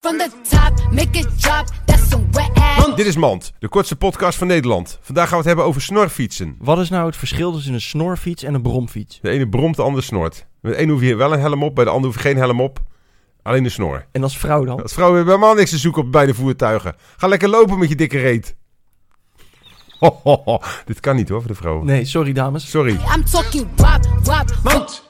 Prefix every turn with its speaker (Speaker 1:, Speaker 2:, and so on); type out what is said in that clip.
Speaker 1: from the top, make it drop. That's some wet ass.
Speaker 2: Dit is Mand, de kortste podcast van Nederland. Vandaag gaan we het hebben over snorfietsen.
Speaker 3: Wat is nou het verschil tussen een snorfiets en een bromfiets?
Speaker 2: De ene bromt, de ander snort. Met de ene hoef je wel een helm op, bij de ander hoef je geen helm op. Alleen de snor.
Speaker 3: En als vrouw dan?
Speaker 2: Dat vrouwen hebben helemaal niks te zoeken op beide voertuigen. Ga lekker lopen met je dikke reet. Dit kan niet hoor, voor de vrouwen.
Speaker 3: Nee, sorry dames.
Speaker 2: Sorry.
Speaker 1: I'm talking rob, rob,